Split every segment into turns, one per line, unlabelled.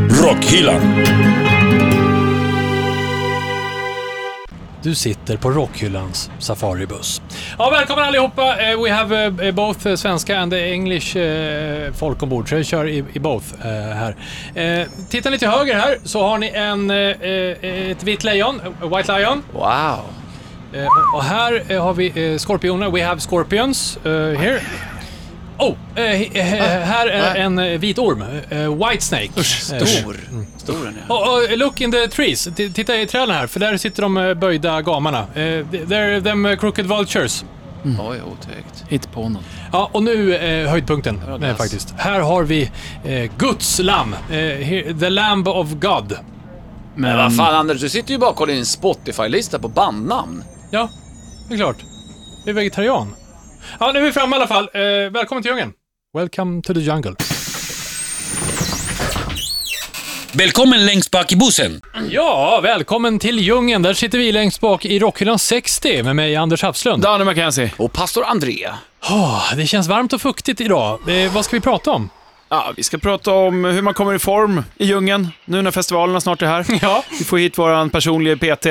Rockhyllan.
Du sitter på Rockhyllans safaribuss. Ja, välkommen allihopa! Eh, we have eh, both eh, svenska and eh, English eh, folk ombord, så jag kör i, i both eh, här. Eh, tittar ni till höger här så har ni en, eh, eh, ett vitt lejon, eh, White Lion.
Wow.
Eh, och- och här eh, har vi eh, skorpioner, we have scorpions eh, here. Oh, eh, he- eh, här är
nej.
en eh, vit orm, eh, White Snake. Eh,
Stor. Mm. Stor är den.
Oh, oh, look in the trees. T- titta i träden här, för där sitter de eh, böjda gamarna. Eh, they're them eh, crooked vultures.
Oj, otäckt.
Hit på honom.
Ja, och nu eh, höjdpunkten
var
eh,
glass.
faktiskt. Här har vi eh, Guds lamm. Eh, here- the lamb of God.
Men vad fan Anders, du sitter ju bakom din Spotify-lista på bandnamn.
Ja, det är klart. Det är vegetarian. Ja, nu är vi framme i alla fall. Eh, välkommen till djungeln. Welcome to the jungle.
Välkommen längst bak i bussen.
Ja, välkommen till djungeln. Där sitter vi längst bak i Rockhyllan 60 med mig, Anders Hafslund.
Danne McKenzie.
Och pastor André.
Åh, det känns varmt och fuktigt idag. Eh, vad ska vi prata om?
Ja, vi ska prata om hur man kommer i form i djungeln, nu när festivalerna snart är här.
Ja.
Vi får hit våran personliga PT.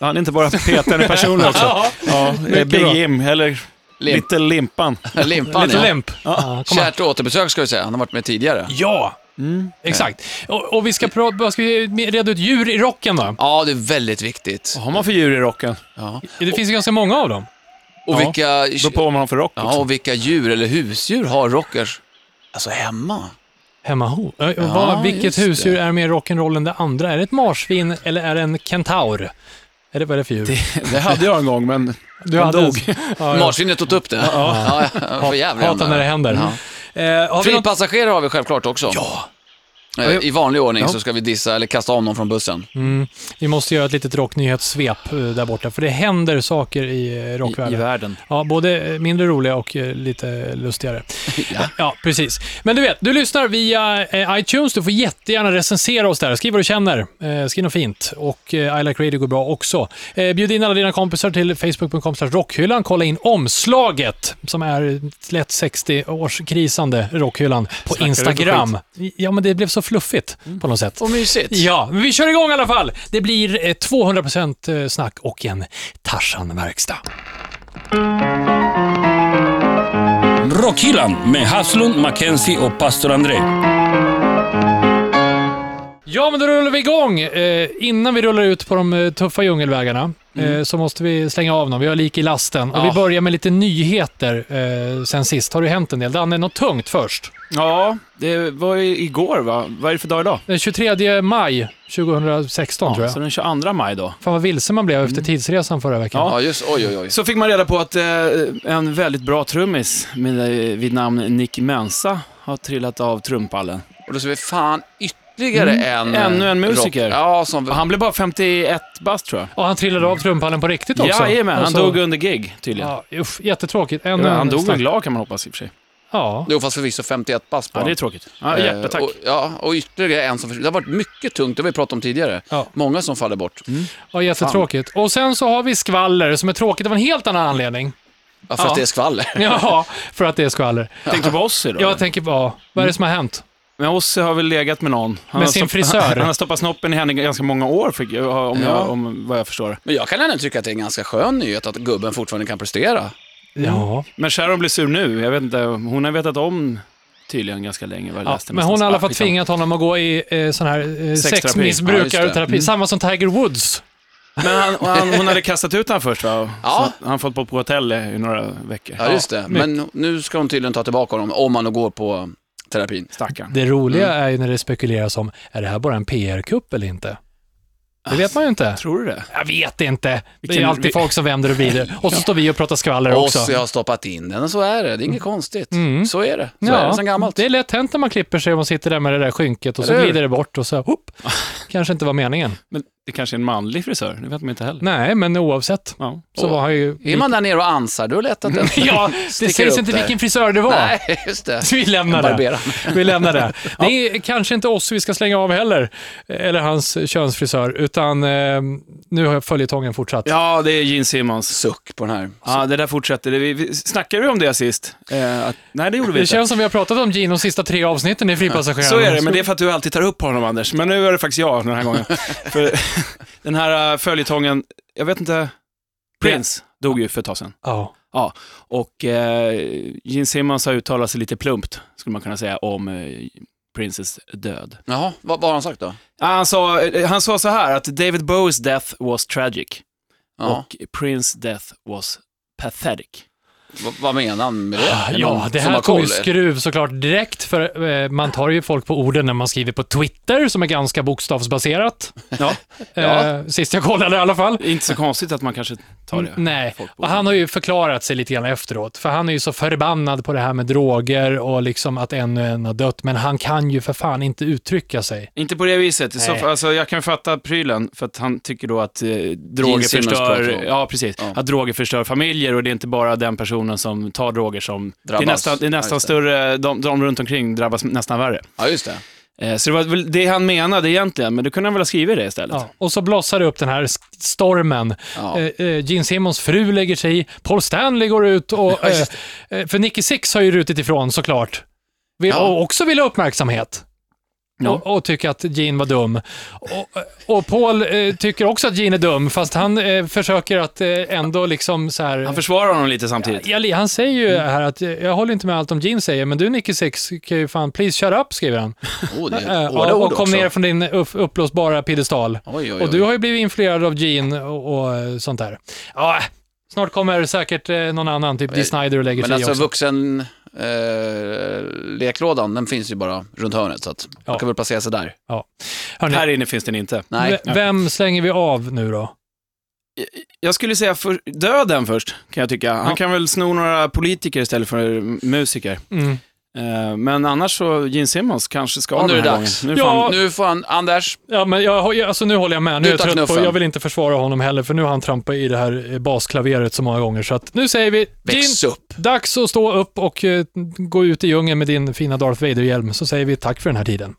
Han är inte bara PT, han är personlig också.
Ja,
Ja, det är
Mycket bra.
Big Jim, eller
Limp.
Little Limpan.
Limpan
lite
ja.
lämp. Ja, kom här. Mm.
Kärt återbesök ska vi säga, han har varit med tidigare.
ja. exakt. Och, och vi ska, pra- vad ska vi reda ut djur i rocken då.
Ja, det är väldigt viktigt.
Vad har man för djur i rocken?
Ja.
Det finns ju ganska många av dem.
Och, vilka,
Beror på vad man har för rock
ja,
också.
och vilka djur eller husdjur har rockers? Alltså hemma?
Hemma ho. Ö, vad, vilket
just
husdjur
det.
är mer rock'n'roll än det andra? Är det ett marsvin eller är det en kentaur? Är det vad är det för djur?
Det hade jag en gång, men
du
den
hade-
dog.
Ja, jag
Marsvinet åt upp det. Ja, ja, för jävla
hatar när det händer.
Ja.
Eh, har vi något...
Fripassagerare har vi självklart också.
Ja.
Eh, I vanlig ordning så ska vi dissa eller kasta av någon från bussen.
Mm, vi måste göra ett litet rocknyhetssvep eh, där borta, för det händer saker i eh, rockvärlden.
världen.
Ja, både eh, mindre roliga och eh, lite lustigare. Ja. precis. Men du vet, du lyssnar via eh, iTunes. Du får jättegärna recensera oss där. Skriv vad du känner. Eh, skriv något fint. Och eh, I like radio går bra också. Eh, bjud in alla dina kompisar till facebook.com rockhyllan. Kolla in omslaget som är lätt 60-årskrisande rockhyllan på
Snackar du för Mm.
Instagram. Ja, men det blev så fluffigt på något sätt.
Och mysigt.
Ja, men vi kör igång i alla fall. Det blir eh, 200% snack och en Tarzan-verkstad.
Rockhyllan med Haslund, Mackenzie och pastor André.
Ja, men då rullar vi igång. Eh, innan vi rullar ut på de eh, tuffa djungelvägarna eh,
Mm.
så måste vi slänga av dem. Vi har lik i lasten. Och vi börjar med lite nyheter eh, sen sist. Har det hänt en del? Danne, något tungt först.
Ja, det var ju igår va? Vad är det för dag idag?
Den 23 maj 2016 tror
Ja,
jag.
så den 22 maj då.
Fan vad vilsen man blev efter tidsresan förra veckan.
Mm. Ja.
Ja, just oj, oj, oj.
Så fick man reda på att eh, en väldigt bra trummis med, eh, vid namn Nick Mensa har trillat av trumpallen.
Och då ser vi fan ytterligare en...
Mm.
eh,
Ännu en musiker.
rock- Ja, som...
Och Han blev bara 51 bast tror jag.
Och han trillade av trumpallen på riktigt också.
Jajamän, han
Alltså,
dog under gig tydligen.
Ja, usch, jättetråkigt. Ännu
Ja,
en
han dog
stack-
väl glad kan man hoppas i och för sig.
Ja.
Jo, fast förvisso 51 pass på
Ja, det är
honom.
tråkigt. Ja,
Eh,
hjärtattack.
Och, ja, och ytterligare en som försvinner. Det har varit mycket tungt, det har vi pratat om tidigare.
Ja.
Många som faller bort.
ja, jättetråkigt. Och sen så har vi skvaller som är tråkigt av en helt annan anledning.
Ja, för
Ja.
att det är skvaller.
Ja, för att det är skvaller.
Tänkte du på Ossi då?
Jag tänker bara, vad är det som har hänt?
Men Ossi har väl legat med någon. Han
Med
har
sin
stopp-
frisör.
Han har stoppat snoppen i henne i ganska många år, fick jag, om,
Ja.
jag, om vad jag förstår.
Men jag kan ändå tycka att det är en ganska skön nyhet att gubben fortfarande kan prestera.
Ja,
Men Sharon blir sur nu. Jag vet inte, hon har vetat om tydligen ganska länge vad jag
ja
läste.
men hon har i alla
någonstans.
fall
Ja, skitsamma.
tvingat honom att gå i eh, sån här eh,
Sexterapi.
Ja, just
sexmissbrukarterapi.
det.
Samma som Tiger Woods.
Men han, och han, hon hade kastat ut honom först va?
Ja.
Ja. Så han fått bo på hotell i i några veckor.
Ja, just det. Men nu ska hon tydligen ta tillbaka honom, om han nu går på terapin.
Stackarn.
Det roliga är ju när det spekuleras om, är det här bara en PR-kupp eller inte? Det vet man ju inte.
Tror du det?
Jag vet inte. Det är ju
Vilken-
alltid folk som vänder och vrider. Och så står vi och pratar skvaller
Och
också.
så jag har stoppat in den och så är det. Det är inget konstigt.
Mm.
Så är det. Så är det
Ja,
sen gammalt.
det är lätt hänt när man klipper sig och man sitter där med det där skynket och så
Eller hur?
glider det bort och så, hopp, kanske inte var meningen.
Men det kanske är en manlig frisör, det vet man inte heller.
Nej, men oavsett
Ja.
så var han ju...
Är man där nere och ansar, då är det lätt att den
Ja, det
sticker
sägs
upp
inte
där.
vilken frisör det var.
Nej, just det.
Vi lämnar det.
Barberaren.
Vi lämnar det. Det är kanske inte oss vi ska slänga av heller, eller hans könsfrisör, utan eh, nu har följetongen fortsatt.
ja, det är Gene Simmons.
Suck på den här.
Ja, det där fortsätter. Det- Vi, vi, snackade vi om det sist? Eh, att, nej, det gjorde vi
Det
inte.
känns som vi har pratat om Gene de sista tre avsnitten i Fripassageraren.
Så är det, men det är för att du alltid tar upp honom, Anders. Men nu är det faktiskt jag den här gången. för den här eh, följetongen, jag vet inte, Prince dog ju för ett tag sedan.
Ja.
Ja, och eh, Gene Simmons har uttalat sig lite plumpt, skulle man kunna säga, om eh, Princes död.
Jaha, vad, vad har han sagt då?
Ja, Han sa, eh, han sa så här, att David Bowies death was tragic
Ja.
och Prince death was pathetic.
vad- vad menar han med det? Är det
Ah, Ja,
någon
det
som
här
har
tog ju
koll?
skruv såklart direkt, för eh, man tar ju folk på orden när man skriver på Twitter, som är ganska bokstavsbaserat.
Ja,
Eh, sist jag kollade i alla fall.
inte så konstigt att man kanske tar det.
Mm, Nej,
Folk på
och han har ju förklarat sig lite grann efteråt, för han är ju så förbannad på det här med droger och liksom att ännu en har dött, men han kan ju för fan inte uttrycka sig.
Inte på det viset. I så
Nej.
fall, alltså, jag kan fatta prylen, för att han tycker då att eh, droger
Simmons pratar
förstör...
om.
Ja, precis.
Ja.
Att droger förstör familjer och det är inte bara den personen som tar droger som... Det är
Drabbas.
nästan, det är
Ja,
nästan
just det.
större, de, de runt omkring drabbas nästan värre.
Ja, just det.
Eh, så det var väl det han menade egentligen, men då kunde han väl ha skrivit det istället.
Ja. Och så blossar det upp den här s- stormen.
Ja.
Eh, eh, Gene Simmons fru lägger sig i, Paul Stanley går ut och... Eh, eh, för Nicky Six har ju rutit ifrån såklart. Vill,
Ja.
Och också vill ha uppmärksamhet.
Ja.
Och, och tycker att Gene var dum. Och, och Paul eh, tycker också att Gene är dum, fast han eh, försöker att eh, ändå liksom så här...
Han försvarar honom lite samtidigt.
Ja, li- han säger ju
Mm.
här att eh, jag håller inte med allt om Gene säger, men du Nicky Six kan ju fan, please shut up, skriver han.
Oh, det
Eh,
är hårda
och,
ord
och kom
också.
ner från din upp, uppblåsbara piedestal.
Oj, oj, oj.
Och du har ju blivit influerad av Gene och, och eh, sånt där. Ja, eh, snart kommer säkert eh, någon annan, typ Dee Snyder, och lägger
Men
sig i
alltså
också.
vuxen eh, leklådan, den finns ju bara runt hörnet så att
Ja.
man kan väl placera sig där.
Hörrni,
Här inne finns den inte.
Nej,
v- vem slänger vi av nu då?
Jag skulle säga för, döden först, kan jag tycka. Han
Ja.
kan väl sno några politiker istället för musiker.
Mm.
Eh, men annars så, Gene Simmons kanske ska
och
den
nu är det
här
dags.
gången. Nu
Ja,
får han-
Nu får han, Anders,
Ja, men jag, har- jag- alltså, nu håller jag med. Nu är jag
tar
trött på,
knuffen.
jag vill inte försvara honom heller, för nu har han trampat i det här eh, basklaveret så många gånger. Så att, nu säger vi, Gene,
väx upp.
Dags att stå upp och eh, gå ut i djungeln med din fina Darth Vader-hjälm, så säger vi tack för den här tiden.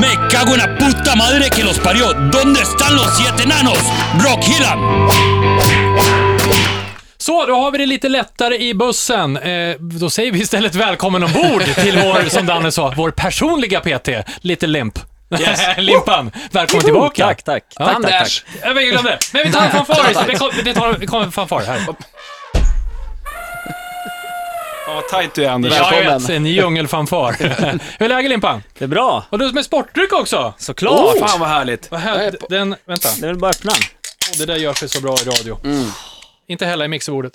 Me cago en la puta madre que los parió. ¿Dónde están los siete enanos? Brock Hillam.
Så, då har vi det lite lättare i bussen. Eh, då säger vi istället välkommen ombord till vår, som Danne sa, vår personliga PT, lite limp. Limpan, välkommen tillbaka.
Tack, tack.
Ja,
tack, tack, tack.
Anders!
Jag glömde. Men vi tar en fanfar. Det kom- Det tar- det kommer en fanfar här.
Fan vad tajt du är, Anders.
Ja, jag
Välkommen.
vet, en djungelfanfar. Hur är läget Limpan?
Det är bra.
Och du med sportdryck också.
Såklart.
Oh!
Fan vad härligt.
Vad här, den, vänta.
Det är väl bara att öppna.
Och det där gör sig så bra i radio.
Mm.
Inte heller i mixerbordet.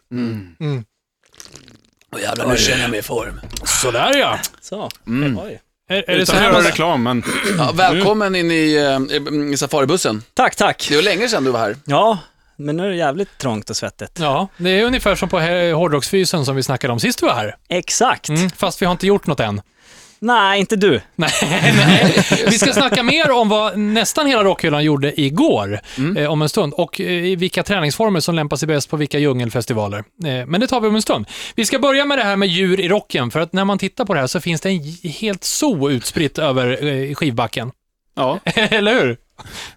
Åh jävlar, nu känner jag mig i form.
Sådär ja.
Så.
Mm.
Oj.
Är, är det så
Utan
här
att
man...
göra reklam, men...
Ja, välkommen in i, eh, i safaribussen.
Tack, tack.
Det var länge sedan du var här.
Ja, men nu är det jävligt trångt och svettigt.
Ja, det är ungefär som på he- hårdrocksfysen som vi snackade om sist du var här.
Exakt.
Mm, fast vi har inte gjort något än.
Nej, inte du.
Nej, nej. Vi ska snacka mer om vad nästan hela rockhyllan gjorde igår, eh, om en stund, och eh, i vilka träningsformer som lämpar sig bäst på vilka djungelfestivaler. Eh, men det tar vi om en stund. Vi ska börja med det här med djur i rocken, för att när man tittar på det här så finns det en j- helt zoo utspritt över eh, skivbacken.
Ja.
Eller hur?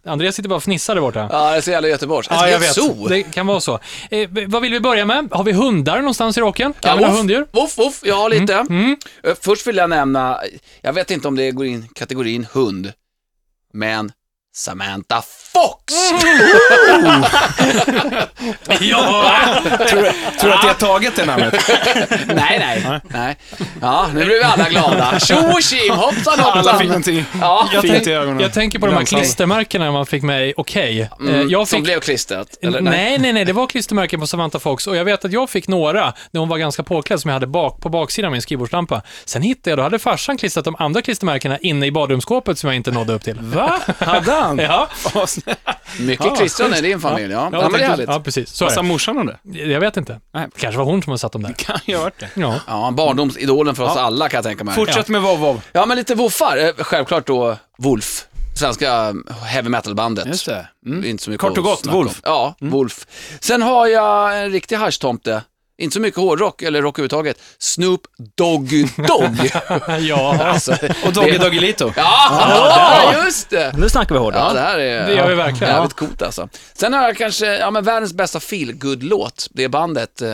Andreas sitter bara och fnissar där borta.
Ja, det är så jävla Göteborgs. Ett helt zoo.
Det kan vara så. Eh, v- vad vill vi börja med? Har vi hundar någonstans i rocken? Kan vi ha
woof,
hunddjur?
Woof, woof, jag har lite. Eh, Först vill jag nämna, jag vet inte om det går in i kategorin hund, men Samantha Fox!
Ja!
Tror du att jag har tagit det namnet?
nej, nej, nej. Ja, nu blev vi alla glada. Tjo och tjim, hoppsan
Alla fick
hoppsan.
någonting
Ja,
fint i ögonen.
Jag tänker på de här
Glänsande.
klistermärkena man fick med i Okej. Eh,
Mm,
jag
Som
fick...
blev klistrat, eller? Nej.
Nej, nej, nej, det var klistermärken på Samantha Fox och jag vet att jag fick några när hon var ganska påklädd som jag hade bak, på baksidan av min skrivbordslampa. Sen hittade jag, då hade farsan klistrat de andra klistermärkena inne i badrumsskåpet som jag inte nådde upp till. Va?
Hade
Christian!
Ja,
Vad snällt.
Mycket
Ja,
Christian är i din familj, ja. Ja, men det är härligt.
ja precis. Så
Vad sa
Alltså-
är
morsan om det?
det. Jag vet inte.
Nej.
kanske var hon som hade satt dem där.
Kan jag ha hört det.
Ja.
Ja, barndomsidolen för oss alla kan jag tänka mig.
Fortsätt med vov-vov.
Ja, men lite woffar. Eh, Självklart då Wolf, svenska heavy metal-bandet.
Just det. Mm.
Det är Inte så mycket
Kort och
att
gott,
snacka
Wolf. Mm.
om. Ja, Wolf. Sen har jag en riktig haschtomte. Inte så mycket hårdrock eller rock överhuvudtaget. Snoop Doggy Dogg.
ja,
alltså,
Och Doggy
det-
Doggelito.
Ja, just det.
Nu snackar vi hårdare.
Ja, det här är
Det gör vi verkligen.
jävligt coolt alltså. Sen har jag kanske, ja men världens bästa feel låt Det är bandet eh,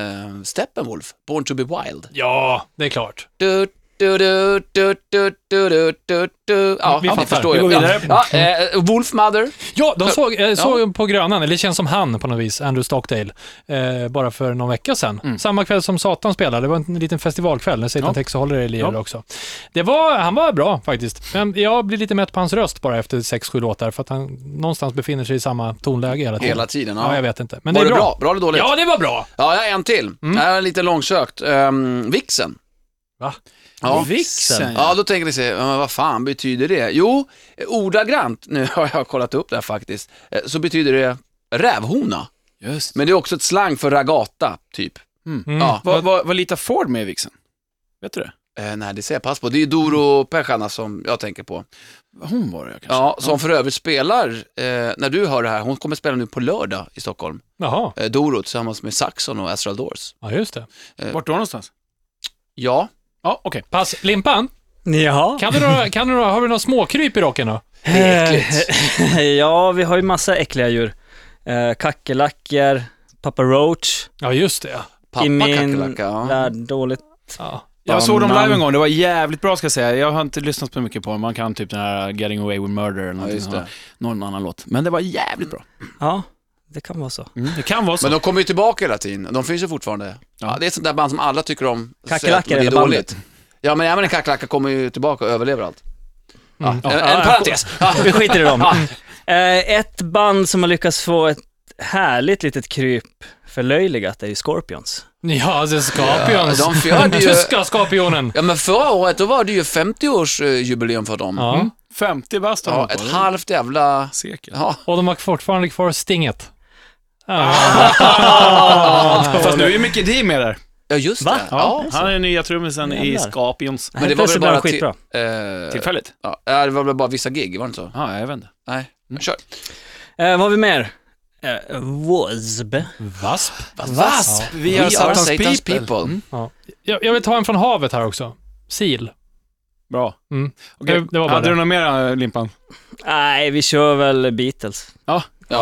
Steppenwolf, Born to be wild.
ja, det är klart.
Du, du, du, du, du, du, du, du, du. Ja,
Vi
ni
fattar.
förstår
Vi
ju.
går vidare.
Ja, ja, eh, Wolfmother.
Ja, de såg, eh, såg på Grönan, eller det känns som han på något vis, Andrew Stockdale, eh, bara för någon vecka sedan. Samma kväll som Satan spelade, det var en liten festivalkväll, när Satan Tex håller i lirar också. Det var, han var bra faktiskt, men jag blir lite mätt på hans röst bara efter 6-7 låtar, för att han någonstans befinner sig i samma tonläge hela tiden.
Hela tiden, ja.
ja. jag vet inte. Men
Var
det
det
är
bra? Bra eller dåligt?
Ja, det var bra!
Ja, jag har en till. Det här är lite långsökt. Um, vixen.
Va?
Ja.
Vixen.
Ja, då tänker ni sig, "Ja, men vad fan betyder det? Jo, eh, ordagrant, nu har jag kollat upp det här faktiskt, eh, så betyder det rävhona.
Just
Men det är också ett slang för ragata, typ.
Mm.
Ja.
Vad vad- vad litar Ford med i Vixen? Vet du det?
Eh, nej, det ser jag pass på. Det är Doro Peshana som jag tänker på.
Hon var det kanske.
Ja, som för övrigt spelar, eh, när du hör det här, hon kommer spela nu på lördag i Stockholm.
Jaha,
Eh, Doro tillsammans med Saxon och Astral Doors.
ja just det.
Vart då någonstans?
Ja,
Ja, okej.
Pass, Limpan,
Jaha.
kan du några, kan du några, har du några småkryp i rocken då?
det
Eh,
är äckligt.
ja, vi har ju massa äckliga djur. Eh, Kackerlackor, Papa Roach.
Ja, just det.
Pappa
I min
kackerlacka, ja.
värld, dåligt.
Ja.
Jag såg dem
Banan.
live en gång, det var jävligt bra ska jag säga. Jag har inte lyssnat så mycket på dem, man kan typ den här Getting Away With Murder eller någonting
just det.
sånt. Någon annan låt. Men det var jävligt bra.
Ja, det kan vara så.
Det kan vara så.
Men de kommer ju tillbaka hela tiden, de finns ju fortfarande. Ja. det är ett sånt där band som alla tycker om. säger att
Kackerlackor
det är
eller
dåligt. Ja men, ja, men kackerlackor kommer ju tillbaka och överlever allt. Ja, en, en
Mm. Ja,
parentes. Ja.
Vi skiter i dem. Eh, ett band som har lyckats få ett härligt litet kryp förlöjligat är ju Scorpions.
Ja, det är Scorpions.
Ja, de fjärde ju-
Tyska skorpionen.
ja men förra året, då var det ju 50-årsjubileum för dem.
Ja.
50 bast har
Ja,
de
ett
på.
halvt jävla...
Sekel.
Ja,
Och de har fortfarande kvar stinget.
Ah.
Fast nu är ju Mickey D med där.
ja just
Va?
det. Ja.
Han är nya trummisen i
Jävlar.
Scorpions.
Men det var väl
Plötsligt blev
bara
de skitbra.
till- eh,
Tillfälligt?
Ja, det var väl bara vissa gig, var det inte så?
Ja, jag vet inte.
Nej, kör.
Eh, vad har vi mer? Eh, Wasp.
Vasp?
Vasp!
Vi är Satans people.
Mm.
Jag, jag vill ta en från havet här också. Sil.
Bra.
Mm.
Okej.
Det- det var bara
Hade
det.
du något mer, eh, Limpan?
Nej, vi kör väl Beatles.
Ja,
Där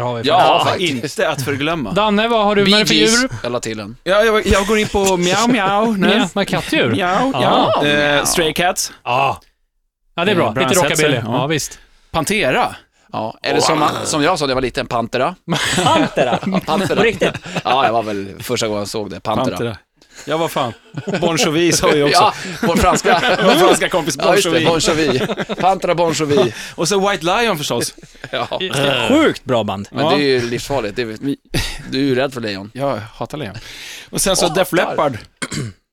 har vi
Ja,
den.
faktiskt.
inte att förglömma.
Danne, vad har du
Bee
med för
Gees,
djur?
jag la till en.
Ja, jag, jag går in på Meow Meow nu.
Ja, med kattdjur? Ja.
Meow,
Ja.
ja. Eh, Stray Cats.
ja. det är bra.
Eh, Brian
Lite rockabilly.
Setzer,
Ja.
ja.
visst.
Pantera.
Ja, eller som, som jag sa när jag var liten, Pantera.
Pantera.
Pantera.
På riktigt.
Ja, jag var väl första gången jag såg det, Pantera.
Ja, vad fan. Bon Jovi sa ju också.
Ja, vår franska.
Min franska kompis
Ja,
Bon
just det,
Jovi.
Bon Jovi. Pantera Bon Jovi.
Och så White Lion förstås.
Ja.
Sjukt bra band.
Men
Ja.
det är ju livsfarligt, det är, du är ju rädd för lejon.
Jag hatar lejon. Och sen så Def Leppard.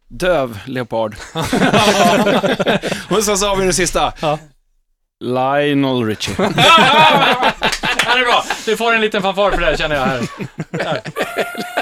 Döv leopard. Och sen så har vi den sista.
Ja.
Lionel Richie.
Ja, det är bra. Du får en liten fanfar för det här, känner jag här. Där.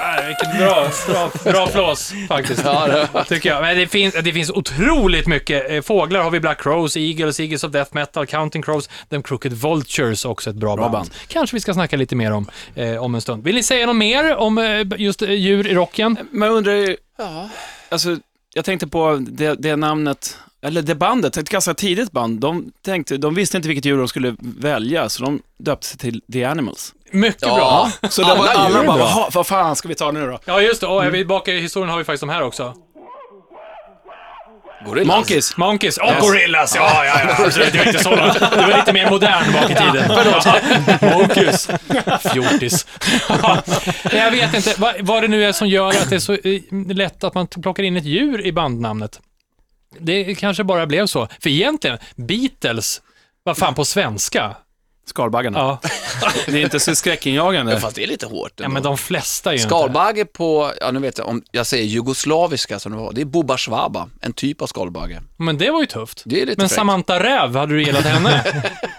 Nej, Vilket bra, bra, bra flås faktiskt.
Ja, det,
Tycker jag. Men det finns, det finns otroligt mycket. Eh, Fåglar har vi Black Crows, Eagles, Eagles of Death Metal, Counting Crows, The Crooked Vultures, också ett bra, band.
band.
Kanske vi ska snacka lite mer om eh, om en stund. Vill ni säga något mer om eh, just eh, djur i rocken?
Men jag undrar ju,
ja.
alltså, jag tänkte på det, det namnet, eller det bandet, ett ganska tidigt band. De, tänkte, de visste inte vilket djur de skulle välja, så de döpte sig till The Animals.
Mycket bra.
ja.
Så alla,
Alla
alla,
djur är
alla bara,
bra.
"Jaha, vad fan ska vi ta nu då?
Ja, just det. Oh, vi bakar i historien har vi faktiskt de här också.
Gorillas.
Monkeys.
Monkeys och Gorillas. Ja, ja, ja. Absolut, det var inte så långt. Det var lite mer modern bak i tiden. Monkeys. Fjortis. Nej, jag vet inte vad, vad det nu är som gör att det är så eh, lätt att man plockar in ett djur i bandnamnet. Det kanske bara blev så. För egentligen, Beatles, vad fan på svenska?
Skalbaggarna.
Ja,
Det är inte så skräckinjagande.
Fast det är lite hårt.
ja
ändå.
men de flesta är ju inte...
Skalbagge på, ja nu vet jag, om jag säger jugoslaviska som det var, det är Boba Svaba, en typ av skalbagge.
Men det var ju tufft.
Det är lite
Men
fräckt.
Samantha Räv, hade du gillat henne?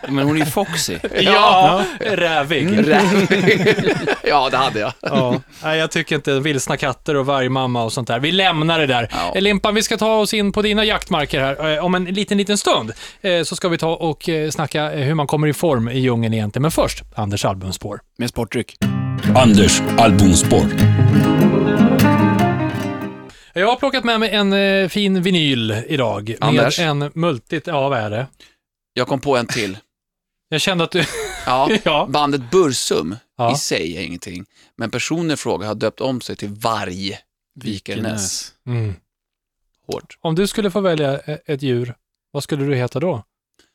Men hon är ju foxy.
ja, rävig.
Mm.
Räv. ja, det hade jag.
Ja. Nej, jag tycker inte vilsna katter och vargmamma och sånt där. Vi lämnar det där.
Ja.
Eh, Limpan, vi ska ta oss in på dina jaktmarker här. Eh, Om en liten, liten stund eh, så ska vi ta och eh, snacka eh, hur man kommer i form i djungeln egentligen. Men först, Anders albumspår.
Med sportdryck.
Anders albumspår.
Eh, Jag har plockat med mig en eh, fin vinyl idag.
Anders?
Med en multit... Ja, vad är det?
Jag kom på en till.
Jag kände att du...
Ja.
ja.
Bandet Bursum
Ja.
i sig är ingenting, men personen i fråga har döpt om sig till Varg Vikernes.
Mm.
Hårt.
Om du skulle få välja eh, ett djur, vad skulle du heta då?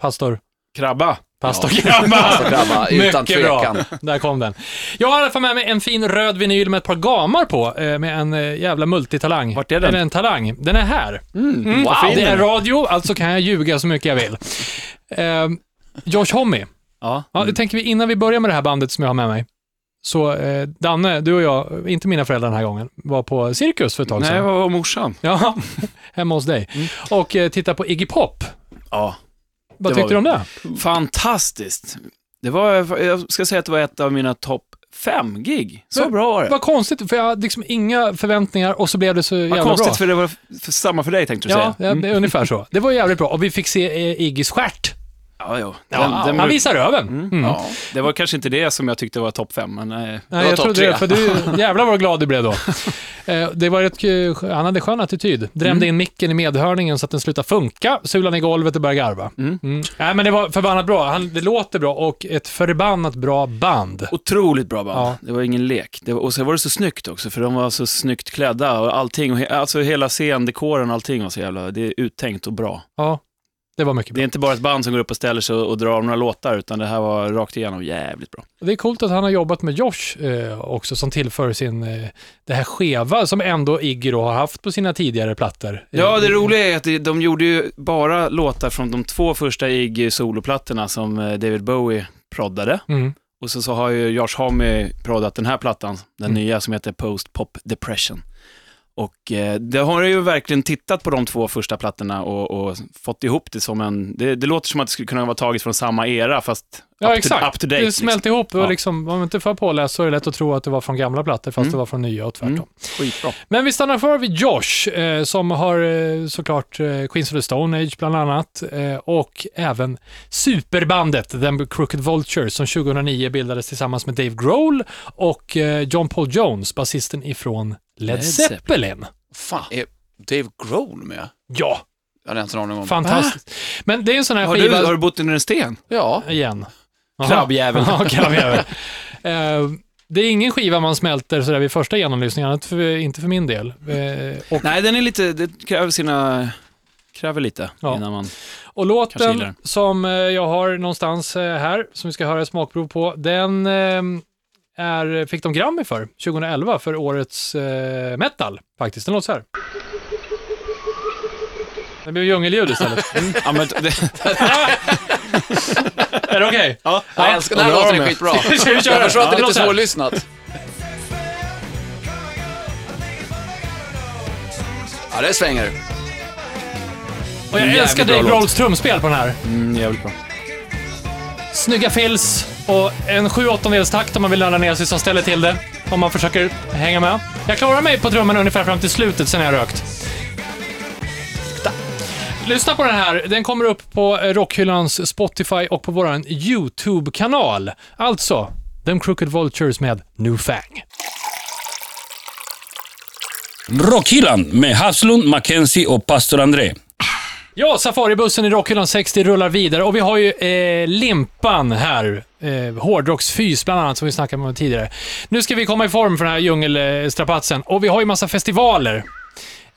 Pastor?
Krabba.
Pastor
Ja.
Krabba!
Alltså, grabbar, utan
Mycket
tvekan.
bra. Där kom den. Jag har i alla fall med mig en fin röd vinyl med ett par gamar på, eh, med en eh, jävla multitalang.
Vart är den?
Eller en talang. Den är här.
vad
Mm, wow,
fin
det är
den
radio, alltså kan jag ljuga så mycket jag vill. Eh, Josh Homme.
Ja.
Ja, det tänker vi innan vi börjar med det här bandet som jag har med mig. Så eh, Danne, du och jag, inte mina föräldrar den här gången, var på cirkus för ett tag
Nej,
sedan.
vad var Mm. morsan?
Ja, hemma hos dig. Och eh, tittade på Iggy Pop.
Ja.
Vad
Det var
tyckte du om det?
Fantastiskt. Det var, jag ska säga att det var ett av mina topp fem gig. Så
Men-
bra var det.
Vad konstigt, för jag hade liksom inga förväntningar och så blev det så
Vad
jävla
konstigt,
bra.
för det var f- för, samma för dig tänkte du
Ja,
säga. Mm.
ja, det är ungefär så. Det var jävligt bra. Och vi fick se eh, Iggys stjärt.
Ja, jo. Den,
Ja,
den,
han visar röven. Mm.
Ja.
Det var kanske inte det som jag tyckte var topp fem, men eh,
Nej,
var
jag
topp
trodde
tre.
det, för du, jävlar vad glad du blev då. Eh, Det var ett, eh, han hade skön attityd. Drämde in micken i medhörningen så att den slutade funka, sulade i golvet och började garva. Mm. Nej, men det var förbannat bra. Han, det låter bra och ett förbannat bra band.
otroligt bra band.
Ja.
Det var ingen lek. Det var, och så var det så snyggt också, för de var så snyggt klädda och allting. Och he, alltså hela scendekoren och allting var så jävla, det är uttänkt och bra.
Ja, det var mycket
Det
bra.
är inte bara ett band som går upp och ställer sig och, och drar några låtar, utan det här var rakt igenom jävligt bra.
Det är coolt att han har jobbat med Josh eh, också, som tillför sin, eh, det här skeva som ändå Iggy då har haft på sina tidigare plattor. Eh,
Ja, det roliga är att det- de gjorde ju bara låtar från de två första Iggy soloplattorna som eh, David Bowie proddade.
Mm.
Och så, så har ju Josh Homme proddat den här plattan, den
Mm.
nya som heter Post Pop Depression. Och eh, det har jag ju verkligen tittat på de två första plattorna och, och fått ihop det som en, det, det låter som att det skulle kunna vara taget från samma era fast
Ja,
up,
exakt.
to, up to date. liksom.
det smälte ihop och
Ja.
liksom, om man inte är för påläst så är det lätt att tro att det var från gamla plattor
Mm.
fast det var från nya och tvärtom.
Liksom. Skitbra.
Men vi stannar kvar vid Josh eh, som har eh, såklart eh, Queens of the Stone Age bland annat eh, och även superbandet The Crooked Vultures som 2009 bildades tillsammans med Dave Grohl och eh, John Paul Jones, basisten ifrån Led,
Led Zeppelin.
Zeppelin.
Fan, är Dave Grohl med?
Ja,
Jag hade inte en aning om.
fantastiskt. Men det är en sån här
Har, du,
skiva
har du bott under en sten?
Ja,
igen. Jaha.
Krabbjävel.
Ja, krabbjävel. Eh, det är ingen skiva man smälter sådär vid första genomlyssningen, inte för, inte för min del. Eh, och,
Nej, den är lite, det kräver sina, kräver lite
Ja.
innan man...
och
Kanske gillar
låten
den.
som eh, jag har någonstans eh, här, som vi ska höra ett smakprov på, den eh, är, fick de Grammy för 2011 för årets eh, metal, faktiskt. Den låter så här. Det blev djungelljud istället. Mm.
Ja, men, det,
Är det okej?
ja.
jag älskar den här
bra
låten, är
med.
skitbra.
Ska vi köra?
Jag förstår att det är lite
Ja, låt här.
svårlyssnat. Ja, det svänger.
Och jag
Jävligt
älskar
bra
Dave
låt.
Grohls trumspel på den här.
Mm, jävligt bra.
Snygga fills och en 7 åttondels takt om man vill nörda ner sig som ställer till det. Om man försöker hänga med. Jag klarar mig på trummorna ungefär fram till slutet sen jag rökt. Lyssna på den här. Den kommer upp på eh, Rockhyllans Spotify och på vår YouTube-kanal. Alltså, The Crooked Vultures med New Fang.
Rockhyllan med Haslund, Mackenzie och pastor André.
Ja, Safaribussen i Rockhyllan 60 rullar vidare och vi har ju eh, Limpan här. Eh, hårdrocksfys bland annat som vi snackade om tidigare. Nu ska vi komma i form för den här djungelstrapatsen och vi har ju massa festivaler.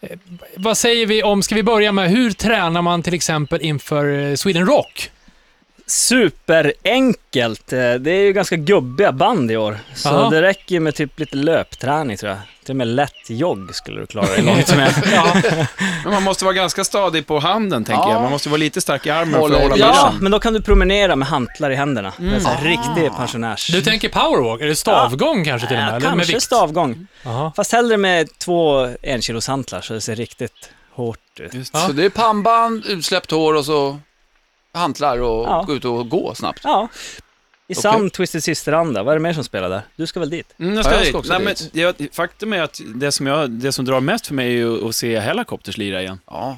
Eh, vad säger vi om, ska vi börja med, hur tränar man till exempel inför eh, Sweden Rock?
Superenkelt. Eh, Det är ju ganska gubbiga band i år. Så
Aha.
det räcker med typ lite löpträning tror jag. Till och med lätt jogg skulle du klara dig långt med.
Men man måste vara ganska stadig på handen, tänker
Ja.
jag. Man måste vara lite stark i armen
Hålla
för att hålla
i-
Ja,
bilen.
men då kan du promenera med hantlar i händerna. Det är så här riktig pensionärs...
Mm. Ah. Du tänker powerwalk, är det stavgång kanske till och med?
Ja,
eller med
kanske
vikt?
stavgång.
Aha.
Fast hellre med två enkiloshantlar så det ser riktigt Hårt du.
Just.
Ja.
Ja.
Så det är pannband, utsläppt hår och så hantlar och
Ja.
gå ut och gå snabbt.
Ja. I sann Twisted Sister-anda, vad är det mer som spelar där? Du ska väl dit?
Mm, jag
Ja,
ska
jag
dit.
ska också
Nej, men,
dit.
jag, faktum är att det som, jag, det som drar mest för mig är ju att se Hellacopters lira igen.
Ja.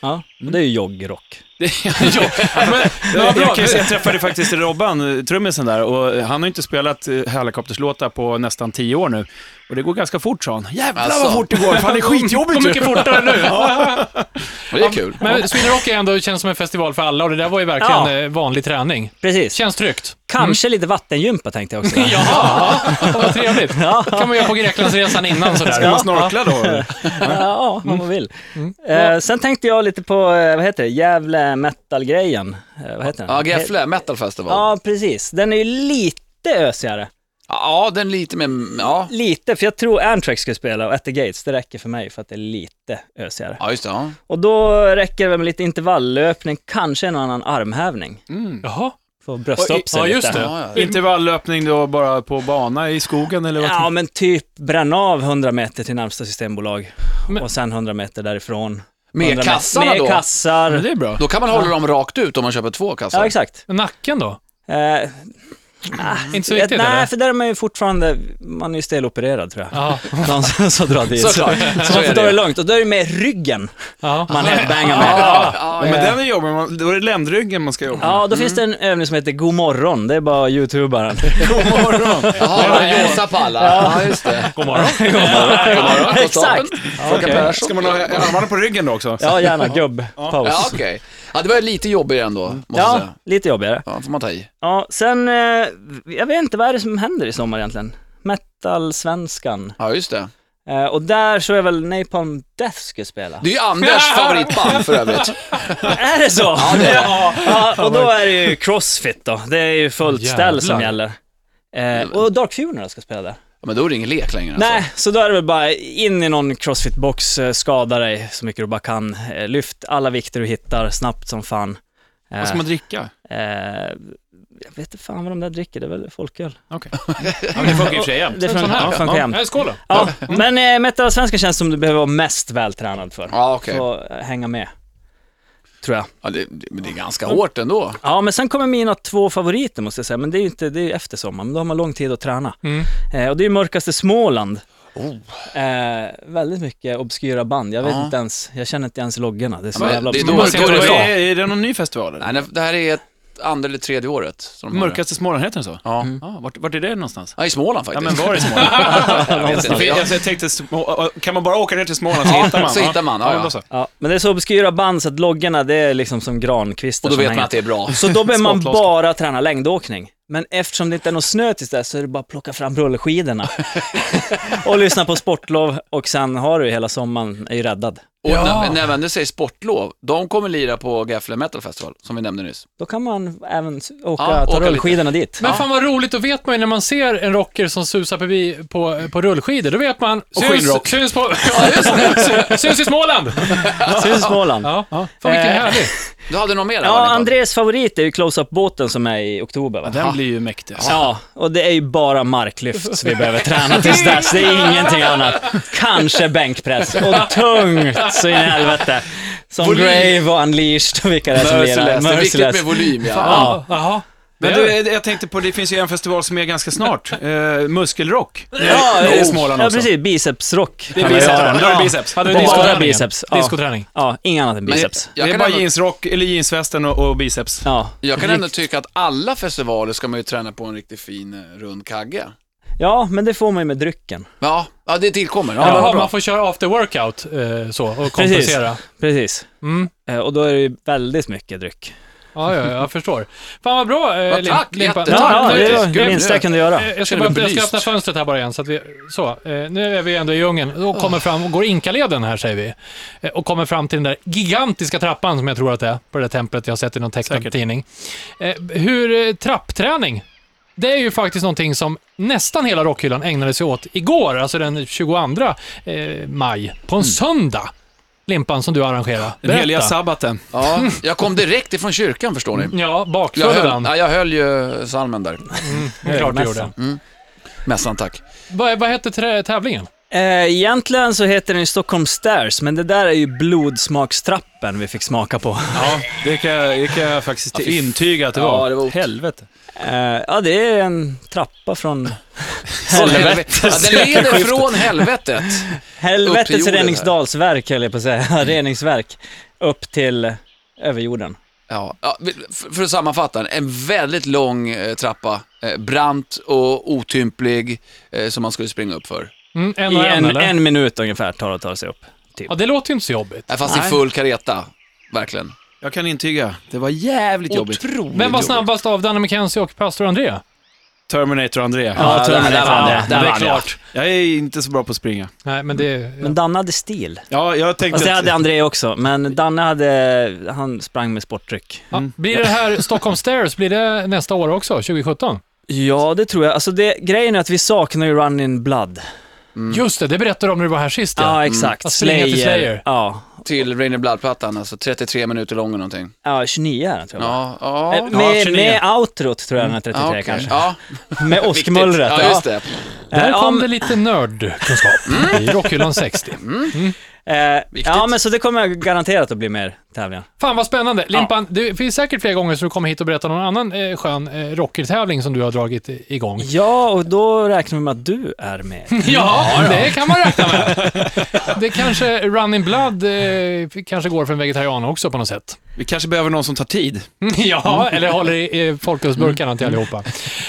Ja, och det är ju joggrock.
Det- ja, men, jag, jag, kan ju säga, jag träffade faktiskt Robban, eh, trummisen där, och han har ju inte spelat eh, Hellacopters-låtar på nästan tio år nu. Och det går ganska fort, sa han. Jävlar
Alltså.
vad fort det går, fan det är skitjobbigt
Går
ju.
mycket fortare nu.
Och det är kul.
Men Sweden Rock är ändå känns som en festival för alla och det där var ju verkligen
Ja.
eh, vanlig träning.
Precis.
Känns tryggt.
Kanske lite vattengympa tänkte jag också.
Jaha, vad trevligt.
Ja.
kan man göra på Greklandsresan innan sådär.
Ska man snorkla då?
ja, om man vill. Eh, sen tänkte jag lite på, eh, vad heter det, Gävle metal-grejen. Eh, vad heter den?
Ja, Gefle, E, Metal Festival. Ja.
Ja, precis. Den är ju lite ösigare.
den lite mer, ja.
Lite, för jag tror Antrax ska spela och At the Gates, det räcker för mig för att det är lite ösigare.
Ja, just det. Ja.
Och då räcker det väl med lite intervalllöpning, kanske en annan armhävning.
Jaha,
För att brösta
Oj,
upp sig
ja,
lite.
just det.
Ja, ja.
Intervallöpning då bara på bana i skogen eller vad?
Ja, men typ bränna av 100 meter till närmsta systembolag
Men-
och sen 100 meter därifrån.
Med
100
kassarna
med
då.
kassar.
men det är bra.
Då kan man hålla dem rakt ut om man köper två kassar.
Ja, exakt.
Men Nacken då?
Eh,
Inte så viktigt
nej,
eller?
för där är man ju fortfarande, man är ju stelopererad tror jag.
Ja,
Någon som- som drar dit. Så,
Såklart.
så
Så
man
är
får ta det
det.
lugnt. Och då är det med ryggen
ja.
man headbangar med.
Ja,
Ja,
ja,
men
ja.
den är jobbig, man- då är det ländryggen man ska jobba med.
Ja, då finns det en övning som heter God morgon. Det är bara youtubaren.
God morgon.
Jaha, Josa Palla. Ja, just det.
God morgon.
God morgon,
Exakt.
konstapeln.
okej.
Fröken Persson.
Ska man ha armarna på ryggen då också?
Ja, gärna gubbpaus.
Ja, okej. Ja, det var lite jobbigare ändå, måste jag
Ja,
säga.
lite jobbigare.
Ja, får man ta i.
Ja, sen, eh, jag vet inte, vad är det som händer i sommar egentligen? Metal-svenskan.
Ja, just det.
Eh, och där så är väl Napalm Death ska spela.
Det är ju Anders favoritband för övrigt.
Är det så? Ja,
det är det.
ja, och då är det ju Crossfit då. Det är ju fullt
Jävlar.
ställ som gäller. Eh, och Dark Funeral ska spela där.
Ja, men då är det ingen lek längre.
Nej,
Alltså.
så då är det väl bara in i någon crossfit-box, eh, skada dig så mycket du bara kan. Eh, Lyft alla vikter du hittar snabbt som fan. Eh,
Vad ska man dricka?
eh, jag vet inte fan vad de där dricker, det är väl folköl.
Ja, men det funkar i och för sig jämt.
Det är från,
Sån här.
ja, från ja.
Nej, skål då.
Ja,
Mm.
men eh, metalsvenskan känns som du behöver vara mest vältränad för.
Ja, okej.
Så eh, hänga med. Tror jag.
Ja, det, det- men det är ganska hårt ändå.
Ja, men sen kommer mina två favoriter måste jag säga, men det är ju inte, det är ju efter sommaren, men då har man lång tid att träna.
Mm.
Eh, och det är ju mörkaste Småland. Eh, väldigt mycket obskyra band, jag vet
Oh. Ja.
inte ens, jag känner inte ens loggorna. Det är så
Ja, men
jävla
det är
obskyrt.
då-
Men
då
vad
det
är, är det någon ny festival? eller?
Nej, nej, det här är ett andra eller tredje året. som de har det.
Mörkaste Småland, heter den så?
Ja.
Ja, vart, vart är det någonstans?
ja, i Småland
Ja,
faktiskt.
men var i Småland?
jag vet
Jag,
inte.
jag,
Ja.
jag tänkte, små- kan man bara åka ner till Småland så
Ja,
hittar man?
så hittar man, ja,
men
ja.
då så.
Ja, men det är så obskyra band så att loggorna, det är liksom som grankvistar
Och då
som
vet man
hänger.
att det är bra.
Så då behöver man
Skottlossning.
bara träna längdåkning. Men eftersom det inte är något snö tills dess så är det bara att plocka fram rullskidorna och lyssna på sportlov och sen har du ju hela sommaren, är ju räddad.
Och när, när man nu säger sportlov, de kommer lira på Gefle Metal Festival, som vi nämnde nyss.
Då kan man även s- åka,
Ja,
ta
åka lite.
rullskidorna dit.
Men fan vad roligt, då vet man ju när man ser en rocker som susar förbi på, på rullskidor, då vet man... Och syns,
skinnrock.
syns, på, ja, just det. syns i Småland!
Syns Småland.
Ja. Fan vilken
Eh.
härlig.
Du hade någon mer där, va,
Ja,
Nico?
Andrés favorit är ju close-up-båten som är i oktober va?
Den blir ju mäktig. alltså.
Ja, och det är ju bara marklyft vi behöver träna tills dess. Det är ingenting annat. Kanske bänkpress. Och tungt så in i helvete. Som
Volym.
Grave och Unleashed och vilka det är som lirar.
Merciless, det är viktigt med
Merciless.
volym ja.
Ja. Jaha.
Men
Det är
du, jag tänkte på, det finns ju en festival som är ganska snart. Eh, muskelrock.
Ja, oh,
det är Småland
ja
också.
precis. Bicepsrock.
Det är
kan man
biceps.
göra.
Då är
Ja.
det biceps.
Hade
Det
vi
Bara
diskoträning?
biceps. Ja.
Diskoträning.
Ja, inget annat än
Men
biceps.
jag,
är
kan
bara
ändå,
jeansrock, eller jeansvästen och, och biceps.
Ja.
jag kan ändå tycka att alla festivaler ska man ju träna på en riktigt fin eh, rund kagge.
ja, men det får man ju med drycken.
Ja, ja det tillkommer. Ja,
Ja,
bra.
man får köra after workout eh, så och kompensera.
Precis.
Mm.
Eh, Och då är det ju väldigt mycket dryck.
Ja, ja, jag förstår. Fan vad bra, eh,
Ja,
Lim-
tack,
Limpa.
jättetack.
Ja, ja,
nu-
det
är
var
grymt.
det minsta jag kunde göra.
Eh, Jag ska,
Känner
bara,
mig
jag ska
belyst.
öppna fönstret här bara igen, så att vi, så, eh, nu är vi ändå i djungeln. Då kommer fram, och går Inkaleden här säger vi, eh, och kommer fram till den där gigantiska trappan som jag tror att det är, på det där templet jag har sett i någon tecknad
Säkert.
tidning. Eh, hur, eh, trappträning, det är ju faktiskt någonting som nästan hela rockhyllan ägnade sig åt igår, alltså den 22 eh, maj, på en söndag. Limpan som du arrangerade.
Mm. Den heliga
Berätta.
sabbaten.
Ja, jag kom direkt ifrån kyrkan förstår ni.
Ja,
Jag
bakfull
höll,
den.
ja, jag höll ju salmen där.
Det är klart du
Mässan.
gjorde.
Mässan tack.
Vad, vad hette trä- tävlingen?
Eh, egentligen så heter den ju Stockholm Stairs, men det där är ju blodsmakstrappen vi fick smaka på.
Ja, det kan jag, det kan jag faktiskt
Ja, fy f-
intyga att det
Ja,
var.
det var otroligt.
Helvete.
Eh, ja, det är en trappa från
Ja, den leder från helvetet. Upp till
helvetets
jorden här.
reningsdalsverk, höll jag på att säga. Reningsverk. Upp till överjorden.
Ja, ja, för för att sammanfatta, en väldigt lång eh, trappa. eh, Brant och otymplig eh, som man skulle springa upp för.
Mm, en
I
och en,
en,
eller?
en minut ungefär tar det att ta sig upp. typ.
Ja, det låter ju inte så jobbigt.
Nej, Äh, Fast i
Nej.
full kareta, verkligen.
Jag kan intyga. Det var jävligt jobbigt.
Otroligt
Vem var
jobbigt.
snabbast av Danne McKenzie och pastor André?
Terminator André.
Ja, där- där vann jag.
det
Där
är
vann jag.
klart.
Jag är inte så bra på att springa.
Nej, men det...
Men Danne hade stil.
Ja, jag
Fast
tänkte
det
att...
hade André också, men Danne hade, han sprang med sporttryck.
Ja, blir det här Stockholm Stairs, blir det nästa år också, 2017?
Ja, det tror jag. Alltså det, grejen är att vi saknar ju Run In Blood.
Just det, det berättade du om när du var här sist
Ja,
ja.
exakt.
Att slänga till Slayer.
Ja.
Till Rainer Blood-plattan, alltså 33 minuter lång eller någonting.
ja, 29 är den tror jag.
Ja, ja.
Eh, Med,
29.
med outrot tror jag den är 33
ja, okej.
kanske.
Ja,
Med
viktigt.
åskmullret.
Ja, just det.
Där
Ja, Eh,
kom
men-
det lite nördkunskap i Rockhyllan 60.
Eh,
Viktigt.
ja, men så det kommer garanterat att bli mer tävlingar.
Fan vad spännande. Limpan, det finns säkert fler gånger som du kommer hit och berättar någon annan eh, skön eh, rockertävling som du har dragit i- igång.
Ja, och då räknar vi med att du är med.
Ja, det kan man räkna med. Det kanske, Running Blood eh, kanske går för en vegetarian också på något sätt.
Vi kanske behöver någon som tar tid.
Ja, eller håller i eh, folkölsburkarna till allihopa.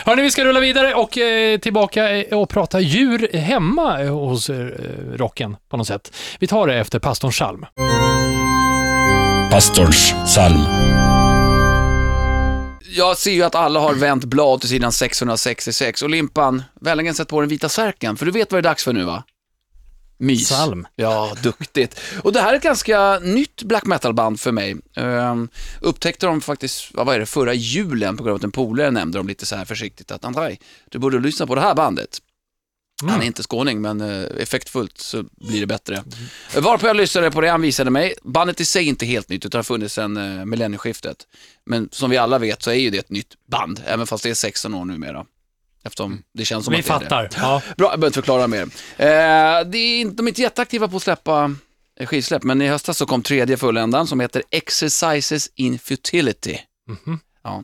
Hörni, vi ska rulla vidare och eh, tillbaka eh, och prata djur hemma eh, hos eh, rocken på något sätt. Vi tar det efter pastorns psalm.
Pastorns psalm.
Jag ser ju att alla har vänt blad till sidan 666 och Limpan, vänligen sätt på den vita särken, för du vet vad det är dags för nu va? Mys.
Psalm.
Ja, duktigt. Och det här är ett ganska nytt black metal-band för mig. Ehm, upptäckte de faktiskt, vad var det, förra julen på grund av att en polare nämnde dem lite så här försiktigt att Andrej, du borde lyssna på det här bandet. Han är inte skåning, men eh, effektfullt så blir det bättre. Varpå jag lyssnade på det han visade mig. Bandet i sig är inte helt nytt, utan har funnits sedan eh, millennieskiftet. Men som vi alla vet så är ju det ett nytt band, även fast det är 16 år numera. Eftersom det känns som
Vi
att det är det.
fattar. Ja.
Bra, jag behöver inte förklara mer. Eh, det är, inte- de är inte jätteaktiva på att släppa eh, skivsläpp, men i höstas så kom tredje fulländan som heter Exercises in Futility.
Mhm.
Ja.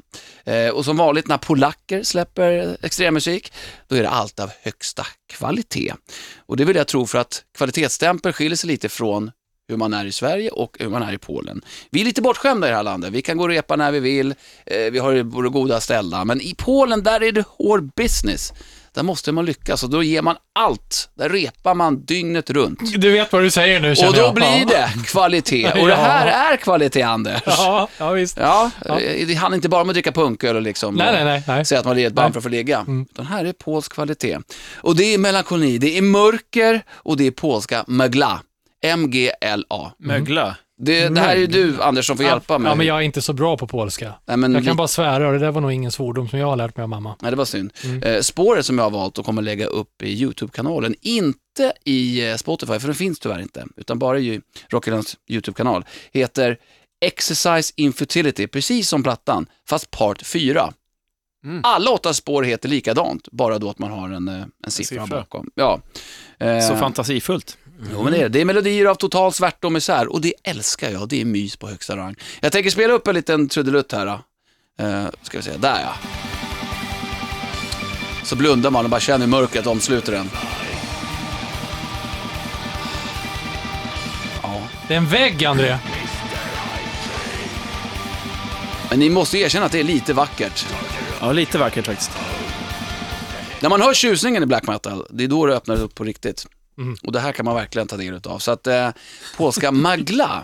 Eh, och som vanligt när polacker släpper extremmusik, då är det allt av högsta kvalitet. Och det vill jag tro för att kvalitetsstämpeln skiljer sig lite från hur man är i Sverige och hur man är i Polen. Vi är lite bortskämda i det här landet. Vi kan gå och repa när vi vill, eh, vi har våra goda ställda. Men i Polen, där är det hård business. Där måste man lyckas och då ger man allt. Där repar man dygnet runt.
Du vet vad du säger nu känner
Och då
jag.
blir det kvalitet. Och det här är kvalitet, Anders.
Ja, ja visst.
Ja, eh, det handlar inte bara om att dricka punköl och liksom
Nej, nej, nej, nej. Mm.
säga att man är ett band för att få ligga. Utan här är polsk kvalitet. Och det är melankoli, det är mörker och det är polska mögla. M-G-L-A.
Mögla.
Det, det här är ju du, Anders, som får hjälpa mig. Mm.
Ja, men jag är inte så bra på polska.
Nej, men
Jag
vi-
kan bara svära och det där var nog ingen svordom som jag har lärt mig av mamma.
Nej, det var synd.
Mm.
Eh, spåret som jag har valt och kommer lägga upp i YouTube-kanalen, inte i eh, Spotify, för den finns tyvärr inte, utan bara i Rockylands YouTube-kanal, heter Exercise Infertility, precis som plattan, fast part 4.
Mm.
Alla åtta spår heter likadant, bara då att man har en, eh, en siffra,
siffra.
bakom. Ja. Eh,
Så fantasifullt.
Jo, men det, är, det. det är melodier av total svärta och misär och det älskar jag. Det är mys på högsta rang. Jag tänker spela upp en liten trudelutt här. Då. Eh, ska vi se, där ja. Så blundar man och bara känner hur mörkret omsluter en.
Det är en vägg, André.
Men ni måste erkänna att det är lite vackert.
Ja, lite vackert faktiskt.
När man hör tjusningen i black metal, det är då det öppnar upp på riktigt. Och det här kan man verkligen ta del av. Så att eh, polska Magla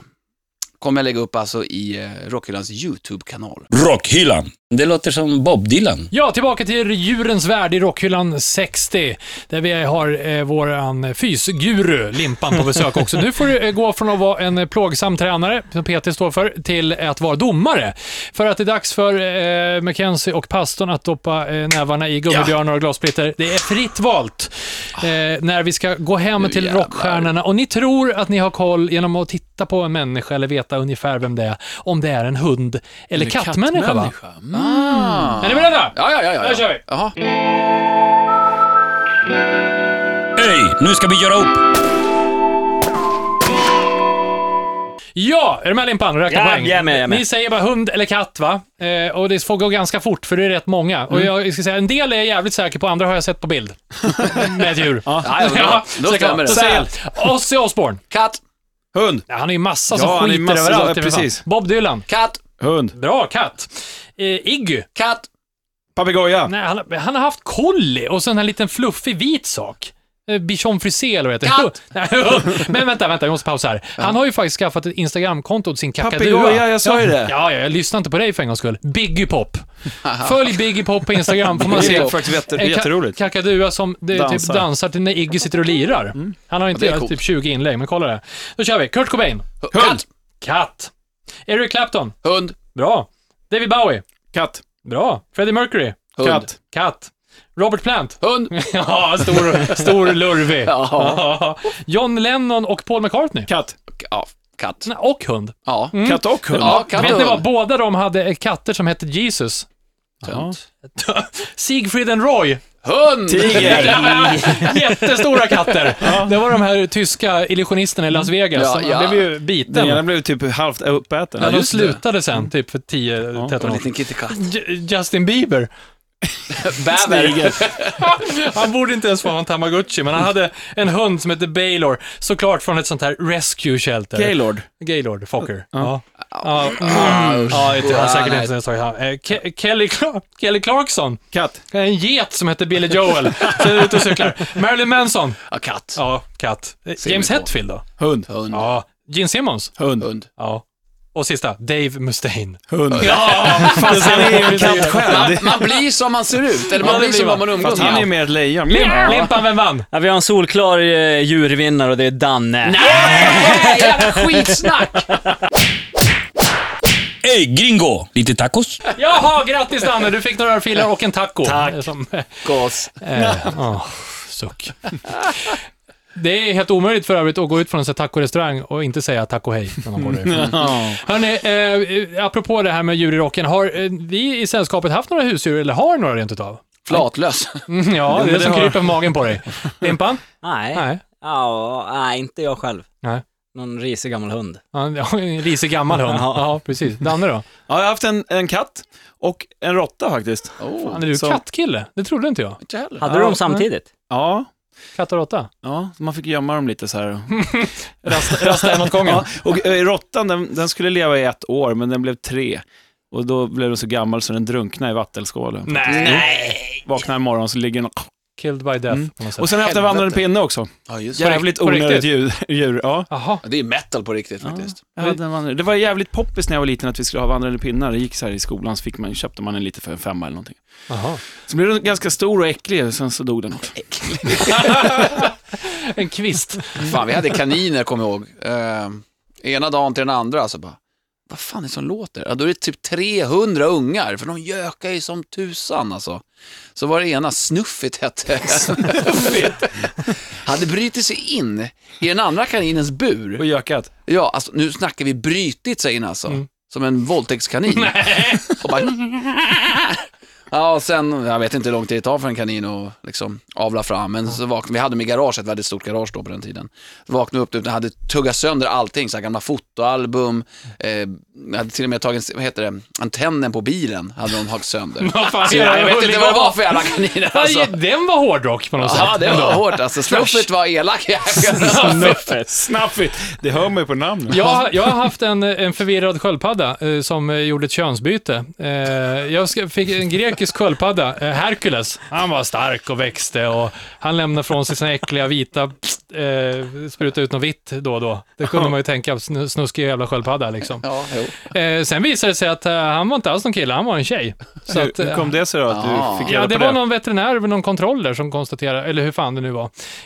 kommer jag lägga upp alltså i eh, Rockhyllans YouTube-kanal.
Rockhyllan. Det låter som Bob Dylan.
Ja, tillbaka till djurens värld i Rockhyllan 60, där vi har eh, våran fysguru Limpan på besök också. Nu får du eh, gå från att vara en eh, plågsam tränare, som PT står för, till att vara domare. För att det är dags för eh, Mackenzie och pastorn att doppa eh, nävarna i gummibjörnar och glassplitter. Det är fritt valt eh, när vi ska gå hem till
jävlar.
rockstjärnorna. Och ni tror att ni har koll genom att titta på en människa eller veta ungefär vem det är, om det är en hund eller kattmänniska. Va? Mm. Är ni beredda?
Ja, ja, ja. ja, ja.
Där kör vi.
Jaha.
Ej, Okej, nu ska vi göra upp.
Ja, är du med Limpan? Räkna
Ja,
poäng.
jag är med, jag är med.
Ni säger bara hund eller katt, va? Eh, och det får gå ganska fort, för det är rätt många. Och jag ska säga, en del är jag jävligt säker på, andra har jag sett på bild. Med ett djur.
Ja, ja, bra. Då
så
stämmer
klart.
det.
Då säger jag Ozzy Osbourne.
Katt,
Hund!
Ja, han är ju massa som
Ja, han är
skiter
massa-
överallt.
ja,
det är för fan.
precis.
Bob Dylan.
katt,
Hund!
Bra katt. Eh, Iggy.
katt.
Papegoja!
Nej, han, han har haft kolli och sen en liten fluffig vit sak. Eh, Bichon frisé eller vad heter
Katt!
det? Men vänta, vänta, jag måste pausa här. Han har ju faktiskt skaffat ett Instagramkonto till sin kakadua.
Papegoja, jag sa ju det.
Ja, ja, jag lyssnar inte på dig för en gångs skull. Biggie Pop. Följ Biggie Pop på Instagram får man
Det
se.
är faktiskt jätte-
En ka-
jätteroligt.
kakadua som det,
Dansar. Mm.
Typ dansar till när Iggy sitter och lirar. Han har inte
Ja, det är
gjort
coolt.
typ 20 inlägg, men kolla det. Då kör vi. Kurt Cobain.
Katt,
Katt. Eric Clapton.
hund,
Bra. David Bowie.
Katt!
Bra. Freddie Mercury.
hund,
Katt.
Katt. Robert Plant.
hund.
Ja, stor, stor lurvig.
Ja,
Ja. John Lennon och Paul McCartney.
Katt!
ja katt.
Nej, Och hund.
Ja,
Katt och hund!
Mm. ja katt
Vet
och
ni vad?
hund.
Båda de hade Eh, katter som hette Jesus.
Tönt.
Siegfried and Roy.
Hund!
Jättestora katter. Det var de här tyska illusionisterna i Las Vegas.
Ja,
Han
Mm. ja.
blev ju
Den
biten.
ena blev typ halvt uppäten.
Ja, de
just det.
slutade sen, typ för 10-13
En
år.
liten kittekatt.
J- Justin Bieber.
Bäver.
Han borde inte ens få ha en tamagotchi, men han hade en hund som hette Baylor. Såklart från ett sånt här rescue shelter.
Gaylord.
Gaylord Fokker. Ja. Ja,
Ah,
mm.
usch.
ja inte- han har säkert
Nej.
inte ens tagit hand. Eh, Ke- Kelly, Clark- Kelly Clarkson.
Katt!
En get som heter Billy Joel. Så är ute och cyklar. Marilyn Manson.
Ja, katt.
Ja, katt. Eh,
Ser
James
vi på.
Hetfield då?
Hund!
Hund,
Ja. Gene Simmons?
Hund!
hund.
Ja. Och sista, Dave Mustaine.
Hund!
Ja, fast han är ju
Katt själv! Det-
Man, man blir som man ser ut, eller man
det
blir
blir
som
man.
vad man umgås
Fast han är ju
med.
mer ett lejon.
Limpan, vem vann?
Ja, vi har en solklar eh, djurvinnare och det är Danne.
Nej, Äh, jävla skitsnack!
Ey, gringo! Lite tacos?
Jaha, grattis Danne! Du fick några örfilar och en taco. Tack. Som,
Gås.
eh, åh, suck. Det är helt omöjligt för övrigt att gå ut från en sån här taco-restaurang och inte säga taco hej när man går därifrån. Hörni, eh, apropå det här med djur i rocken, har eh, vi i sällskapet haft några husdjur, eller har några rent utav?
Flatlös.
Mm, ja, det är det
det
som
har-
kryper på magen på dig. Limpan?
Nej.
Nej.
Ja, nej, inte jag själv.
Nej.
Någon risig gammal hund.
Han har en risig gammal hund.
Ja.
Ja, precis. Danne då?
Ja, jag har haft en, en katt och en råtta faktiskt.
Oh,
Han är du
Så-
kattkille? Det trodde inte jag.
inte heller.
Hade du dem samtidigt?
Ja,
Katt och råtta?
ja man fick gömma dem lite så här.
Rasta, rasta en åt gången?
Ja, och eh, råttan, den, den skulle leva i ett år, men den blev tre. Och då blev den så gammal så den drunknade i vattenskålen.
Nej!
Vaknade en morgon så ligger den...
Killed by death på något sätt.
Och sen har jag haft en vandrande pinne också.
Ja, just det.
Jävligt
på
onödigt
riktigt?
djur. djur ja.
Jaha.
Ja, Det är metal på riktigt faktiskt.
Jag hade en vandrande- Det var jävligt poppis när jag var liten att vi skulle ha vandrande pinnar. Det gick så här i skolan, så fick man, köpte man en lite för en femma eller någonting.
Jaha.
Så blev den ganska stor och äcklig, och sen så dog den också.
En kvist.
Fan, vi hade kaniner, kommer jag ihåg. Ehm, ena dagen till den andra, så bara, vad fan är det som låter? Ja, då är det typ 300 ungar, för de gökar ju som tusan alltså. Så var det ena, Snuffigt hette Snuffigt. Hade brutit sig in i den andra kaninens bur.
Och gökat.
Ja, alltså nu snackar vi brytit sig in alltså. Som en våldtäktskanin. Och bara... Ja, och sen, jag vet inte hur lång tid det tar för en kanin att liksom avla fram, men så vaknade, vi hade dem i garaget, vi hade ett stort garage då på den tiden. Vaknade upp, den hade tuggat sönder allting, så här gamla fotoalbum, eh, jag hade till och med tagit, vad heter det, antennen på bilen hade de hagit sönder.
Vad fan
Så
är
jag vet
Hull-
inte vad det var för jävla kaniner alltså.
Aj, Den var hårdrock på något sätt.
Ja, det var hårt alltså. Snuffet var elak jävla.
Snuffigt. Snuffigt. Det hör man ju på namnet.
Jag, jag har haft en, en förvirrad sköldpadda eh, som eh, gjorde ett könsbyte. Eh, jag ska, fick en grekisk sköldpadda, eh, Herkules. Han var stark och växte och han lämnade från sig sina äckliga vita, pst, eh, sprutade ut något vitt då och då. Det kunde man ju tänka, snu- snuskig jävla sköldpadda liksom.
Ja, jo.
Eh, sen visade det sig att eh, han var inte alls någon kille, han var en tjej. Så att,
Hur
eh,
kom det sig då att
Ja.
du fick reda
Ja,
på
det
det?
var någon veterinär vid någon kontroll där som konstaterade, eller hur fan det nu var.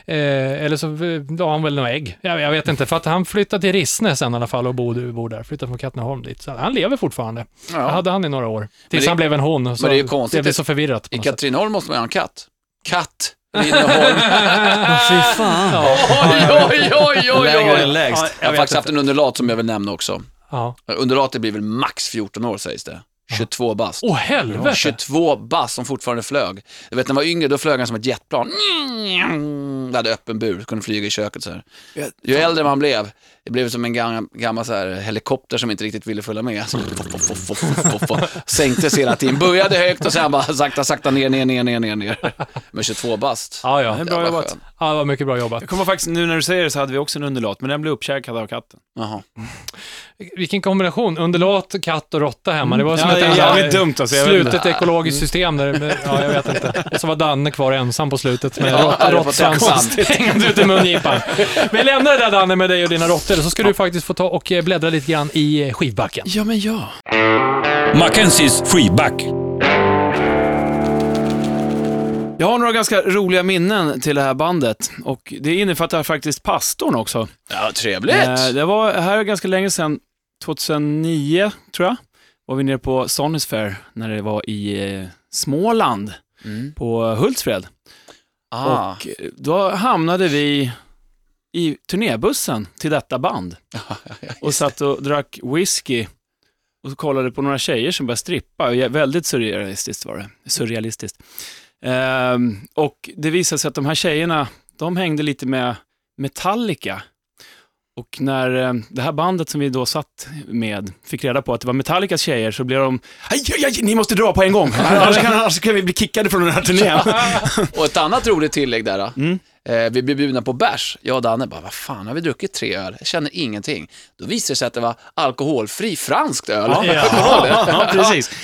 Eh, eller så eh, la han väl några ägg. Jag, jag vet inte, för att han flyttade till Rissne sen i alla fall och bor, bor där. Flyttade från Katrineholm dit. Så han lever fortfarande.
Ja.
Det hade han i några år. Tills
det-
han blev en hon. Så
men det är ju konstigt.
blev det så förvirrat. På
I
något sätt.
Katrineholm måste man ha en katt. Katt. Katrineholm.
Fy fan.
oj, oj, oj, oj,
Lägre än
oj.
lägst.
Jag har faktiskt haft en underlat som jag vill nämna också.
Ja.
Underlatet blir väl max 14 år sägs det. 22 bast.
Åh helvete!
22 bast som fortfarande flög. Jag vet när jag var yngre, då flög han som ett jetplan. jag hade öppen bur, kunde flyga i köket så här. Ju äldre man blev, det blev som en gam, gammal så här helikopter som inte riktigt ville följa med. Alltså, Så, Sänktes hela tiden, började högt och sen bara sakta, sakta ner, ner, ner, ner, ner, ner. Men 22 bast.
Ja, ja.
är bra
Jävla
jobbat.
skön.
ja det var mycket bra jobbat.
Jag kommer faktiskt, nu när du säger det så hade vi också en underlat, men den blev uppkäkad av katten.
Jaha.
Vilken kombination, undulat, katt och råtta hemma. Det var som
Ja,
ett
det är
jävla
jävligt dumt alltså, jag vet inte. Mm.
slutet ekologiskt system där, ja jag vet inte. Och så var Danne kvar ensam på slutet med
Ja, det
ja,
var
råttsvans
konstigt.
hängande ut i mungipan. Vi lämnar det där Danne med dig och dina råttor, så ska du faktiskt få ta och eh, bläddra lite grann i eh, skivbacken.
Ja, men ja.
Mackenzies freeback.
Jag har några ganska roliga minnen till det här bandet och det innefattar faktiskt pastorn också.
Ja, trevligt.
Eh, Det var här ganska länge sedan, 2009 tror jag, var vi nere på Sonys Fair när det var i eh, Småland
Mm.
på Hultsfred.
Ah.
Och eh, då hamnade vi i turnébussen till detta band och satt och drack whisky och så kollade på några tjejer som började strippa. Och jag- Väldigt surrealistiskt var det. Surrealistiskt. Ehm, och det visade sig att de här tjejerna, de hängde lite med Metallica. Och när eh, det här bandet som vi då satt med fick reda på att det var Metallicas tjejer så blev de, aj, aj, aj, ni måste dra på en gång, annars kan, annars kan vi bli kickade från den här turnén.
Och ett annat roligt tillägg där. då.
Mm.
Eh, vi blev bjudna på bärs. Jag och Danne bara, vad fan har vi druckit tre öl? Jag känner ingenting. Då visade det sig att det var alkoholfri franskt öl.
ja, ja, precis.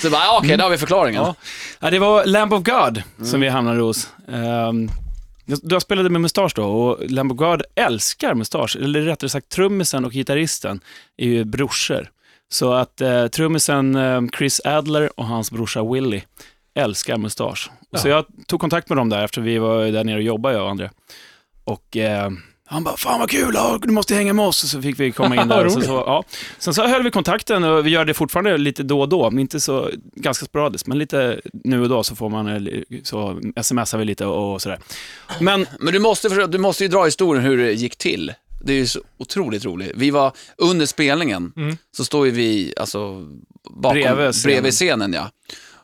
Så bara, ja, okej, där har vi förklaringen.
Ja. Ja, det var Lamb of God som vi hamnade hos. Ehm, jag, jag spelade med Mustasch då och Lamb of God älskar Mustasch, eller rättare sagt trummisen och gitarristen är ju brorsor. Så att eh, trummisen eh, Chris Adler och hans brorsa Willie älskar Mustasch. Och Så jag tog kontakt med dem där efter vi var där nere och jobbade jag och André. Och eh, han bara, fan vad kul, ja, du måste hänga med oss. Och Så fick vi komma in där. och så, så, ja. Sen så höll vi kontakten och vi gör det fortfarande lite då och då, men inte så, ganska sporadiskt, men lite nu och då så får man, eh, så smsar vi lite och, och sådär. Men
Men du måste, förstå- du måste ju dra historien hur det gick till. Det är ju så otroligt roligt. Vi var, under spelningen, så står ju vi alltså, bakom,
Mm. Bredvid
bredvid,
scenen.
scenen. ja,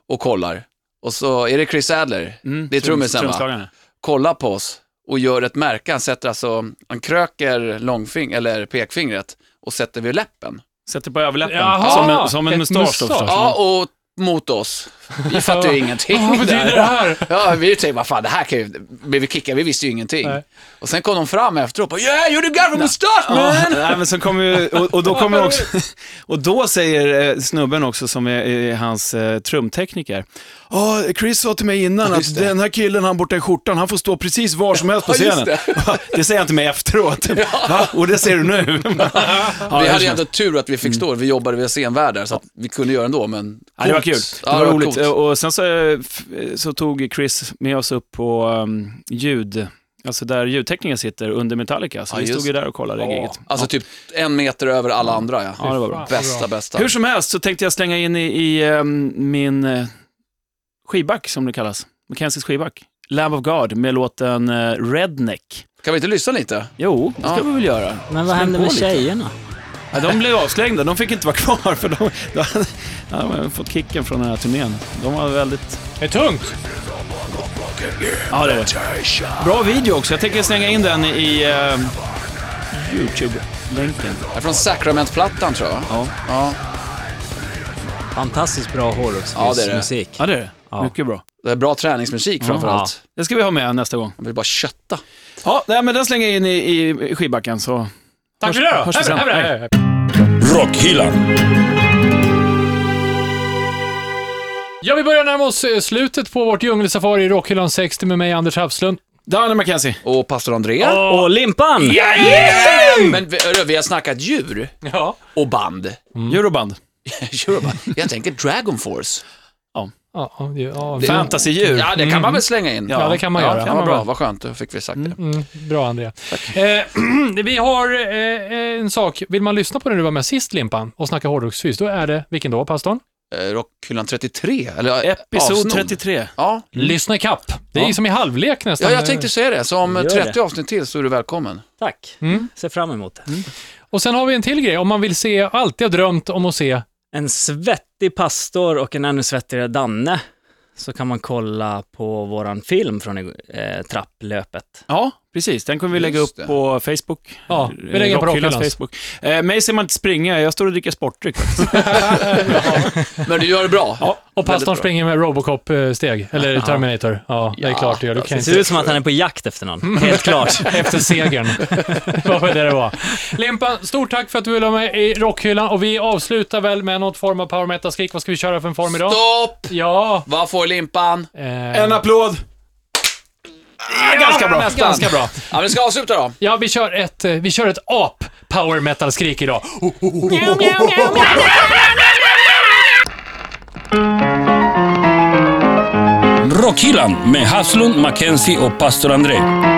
och kollar. Och så är det Chris Adler,
Mm,
det är
trum-
trummisen va?
trumslagaren.
Kollar på oss och gör ett märke. Han sätter alltså, han kröker långfing, eller pekfingret och sätter vid läppen.
Sätter på överläppen,
Jaha,
som en, som en
ett
mustasch då
mustasch.
förstås.
Ja, och mot oss. Vi fattar ju ingenting
Vad betyder det
där.
här?
Ja, vi tänkte, vad fan, det här kan ju... Blev vi kickade? Vi visste ju ingenting.
Nej.
Och sen kom de fram efteråt och yeah, you got a mustache
Ja,
man!
nej, men sen kommer ju, och, och då kommer också, och då säger eh, snubben också som är, är hans eh, trumtekniker. Ja, Chris sa till mig innan att den här killen han borta i skjortan, han får stå precis var som helst på
Ja, just
scenen. Det. säger han till mig efteråt. Va? Och det ser du nu. Ja,
vi
jag
hade ju
känner-
ändå tur att vi fick stå, vi jobbade vid scenvärdar så att vi kunde göra ändå, men...
Ja, det var kul.
coolt.
Det var roligt.
coolt.
Och sen så, eh, f- så tog Chris med oss upp på um, ljud, alltså där ljudtekniken sitter under Metallica. Så
Ja,
vi
just
stod ju där och kollade giget.
Alltså typ en meter över alla andra ja.
Ja, det var bra.
Bästa, bästa.
Hur som helst så tänkte jag slänga in i, i eh, min eh, skivback, som det kallas. Mackenzies skivback. Lamb of God med låten eh, Redneck.
Kan vi inte lyssna lite?
Jo, det ska
Ja.
vi väl göra.
Men vad hände
på
med
lite.
tjejerna?
Ja, de blev avslängda, de fick inte vara kvar för de, de, hade, ja, de hade fått kicken från den här turnén. De var väldigt...
Det är tungt.
Ja, det var det. Bra video också, jag tänker slänga in den i eh, YouTube-länken.
Det är från Sacrament-plattan tror jag.
Ja.
ja.
Fantastiskt bra
Ja, det är det.
hårdrocksmusik.
Ja, det är det.
Ja.
Mycket bra.
Det är Eh, bra träningsmusik framförallt.
Det ska vi ha med nästa gång.
Man vill bara kötta.
Ja, nej, men den slänger jag in i, i skivbacken så...
Tack för det då.
Hörs vi sen.
Hej, hej, hej.
Rockhyllan.
Ja, vi börjar närma oss eh, slutet på vårt djungelsafari i Rockhyllan 60 med mig, Anders Hafslund.
Danny Mackenzie.
Och pastor Andrea.
Och Limpan!
Men vi, hörru, vi har snackat djur
Ja.
och band.
Euroband.
Djur och band. Jag tänker Dragon Force.
Ja, ja, ja,
Det-
fan.
Fantasydjur.
Ja, det kan man väl slänga in.
Mm. Ja, det kan man göra.
Ja, vad bra, vad skönt, då fick vi sagt det.
Mm, bra, Andrea. Eh, vi har eh, en sak. Vill man lyssna på den du var med sist, Limpan, och snacka hårdrocksfys, då är det, vilken då, pastorn?
Eh, Rockhyllan 33, eller eh,
Episod
avsnodd.
33.
Ja.
Lyssna ikapp. Det är
Mm. Ja.
som i halvlek nästan.
ja, jag tänkte säga det. Så om
Gör
30
det.
avsnitt till så är du välkommen.
Tack.
Mm.
Ser fram emot det.
Och sen har vi en till grej, om man vill se, alltid har drömt om att se.
En svettig pastor och en ännu svettigare Danne. Så kan man kolla på våran film från eh, trapplöpet.
Ja, Precis, den kommer vi lägga
Just
upp
det.
på Facebook.
Ja, vi lägger den på
Rockhyllans
Rockhyllans.
Facebook. Eh, mig ser man inte springa, jag står och dricker sportdryck faktiskt.
Men du gör det bra.
Ja,
Och
Väldigt bra.
pastorn springer med Robocop-steg, eller Terminator. Ja, det är
Ja,
klart du gör. Du kan
Det
inte...
ser ut som att han är på jakt efter någon, helt klart.
efter segern. Vad var det det var? Limpa, stort tack för att du ville vara med i rockhyllan och vi avslutar väl med något form av power metal-skrik. Vad ska vi köra för en form idag?
Stopp!
Ja,
Vad får limpan?
eh,
En applåd!
ganska bra. Nästan.
ganska bra.
Ja, men ska avsluta då.
Ja, vi kör ett, eh, vi kör ett ap power metal-skrik idag.
Rockhyllan med Haslund, Mackenzie och pastor André.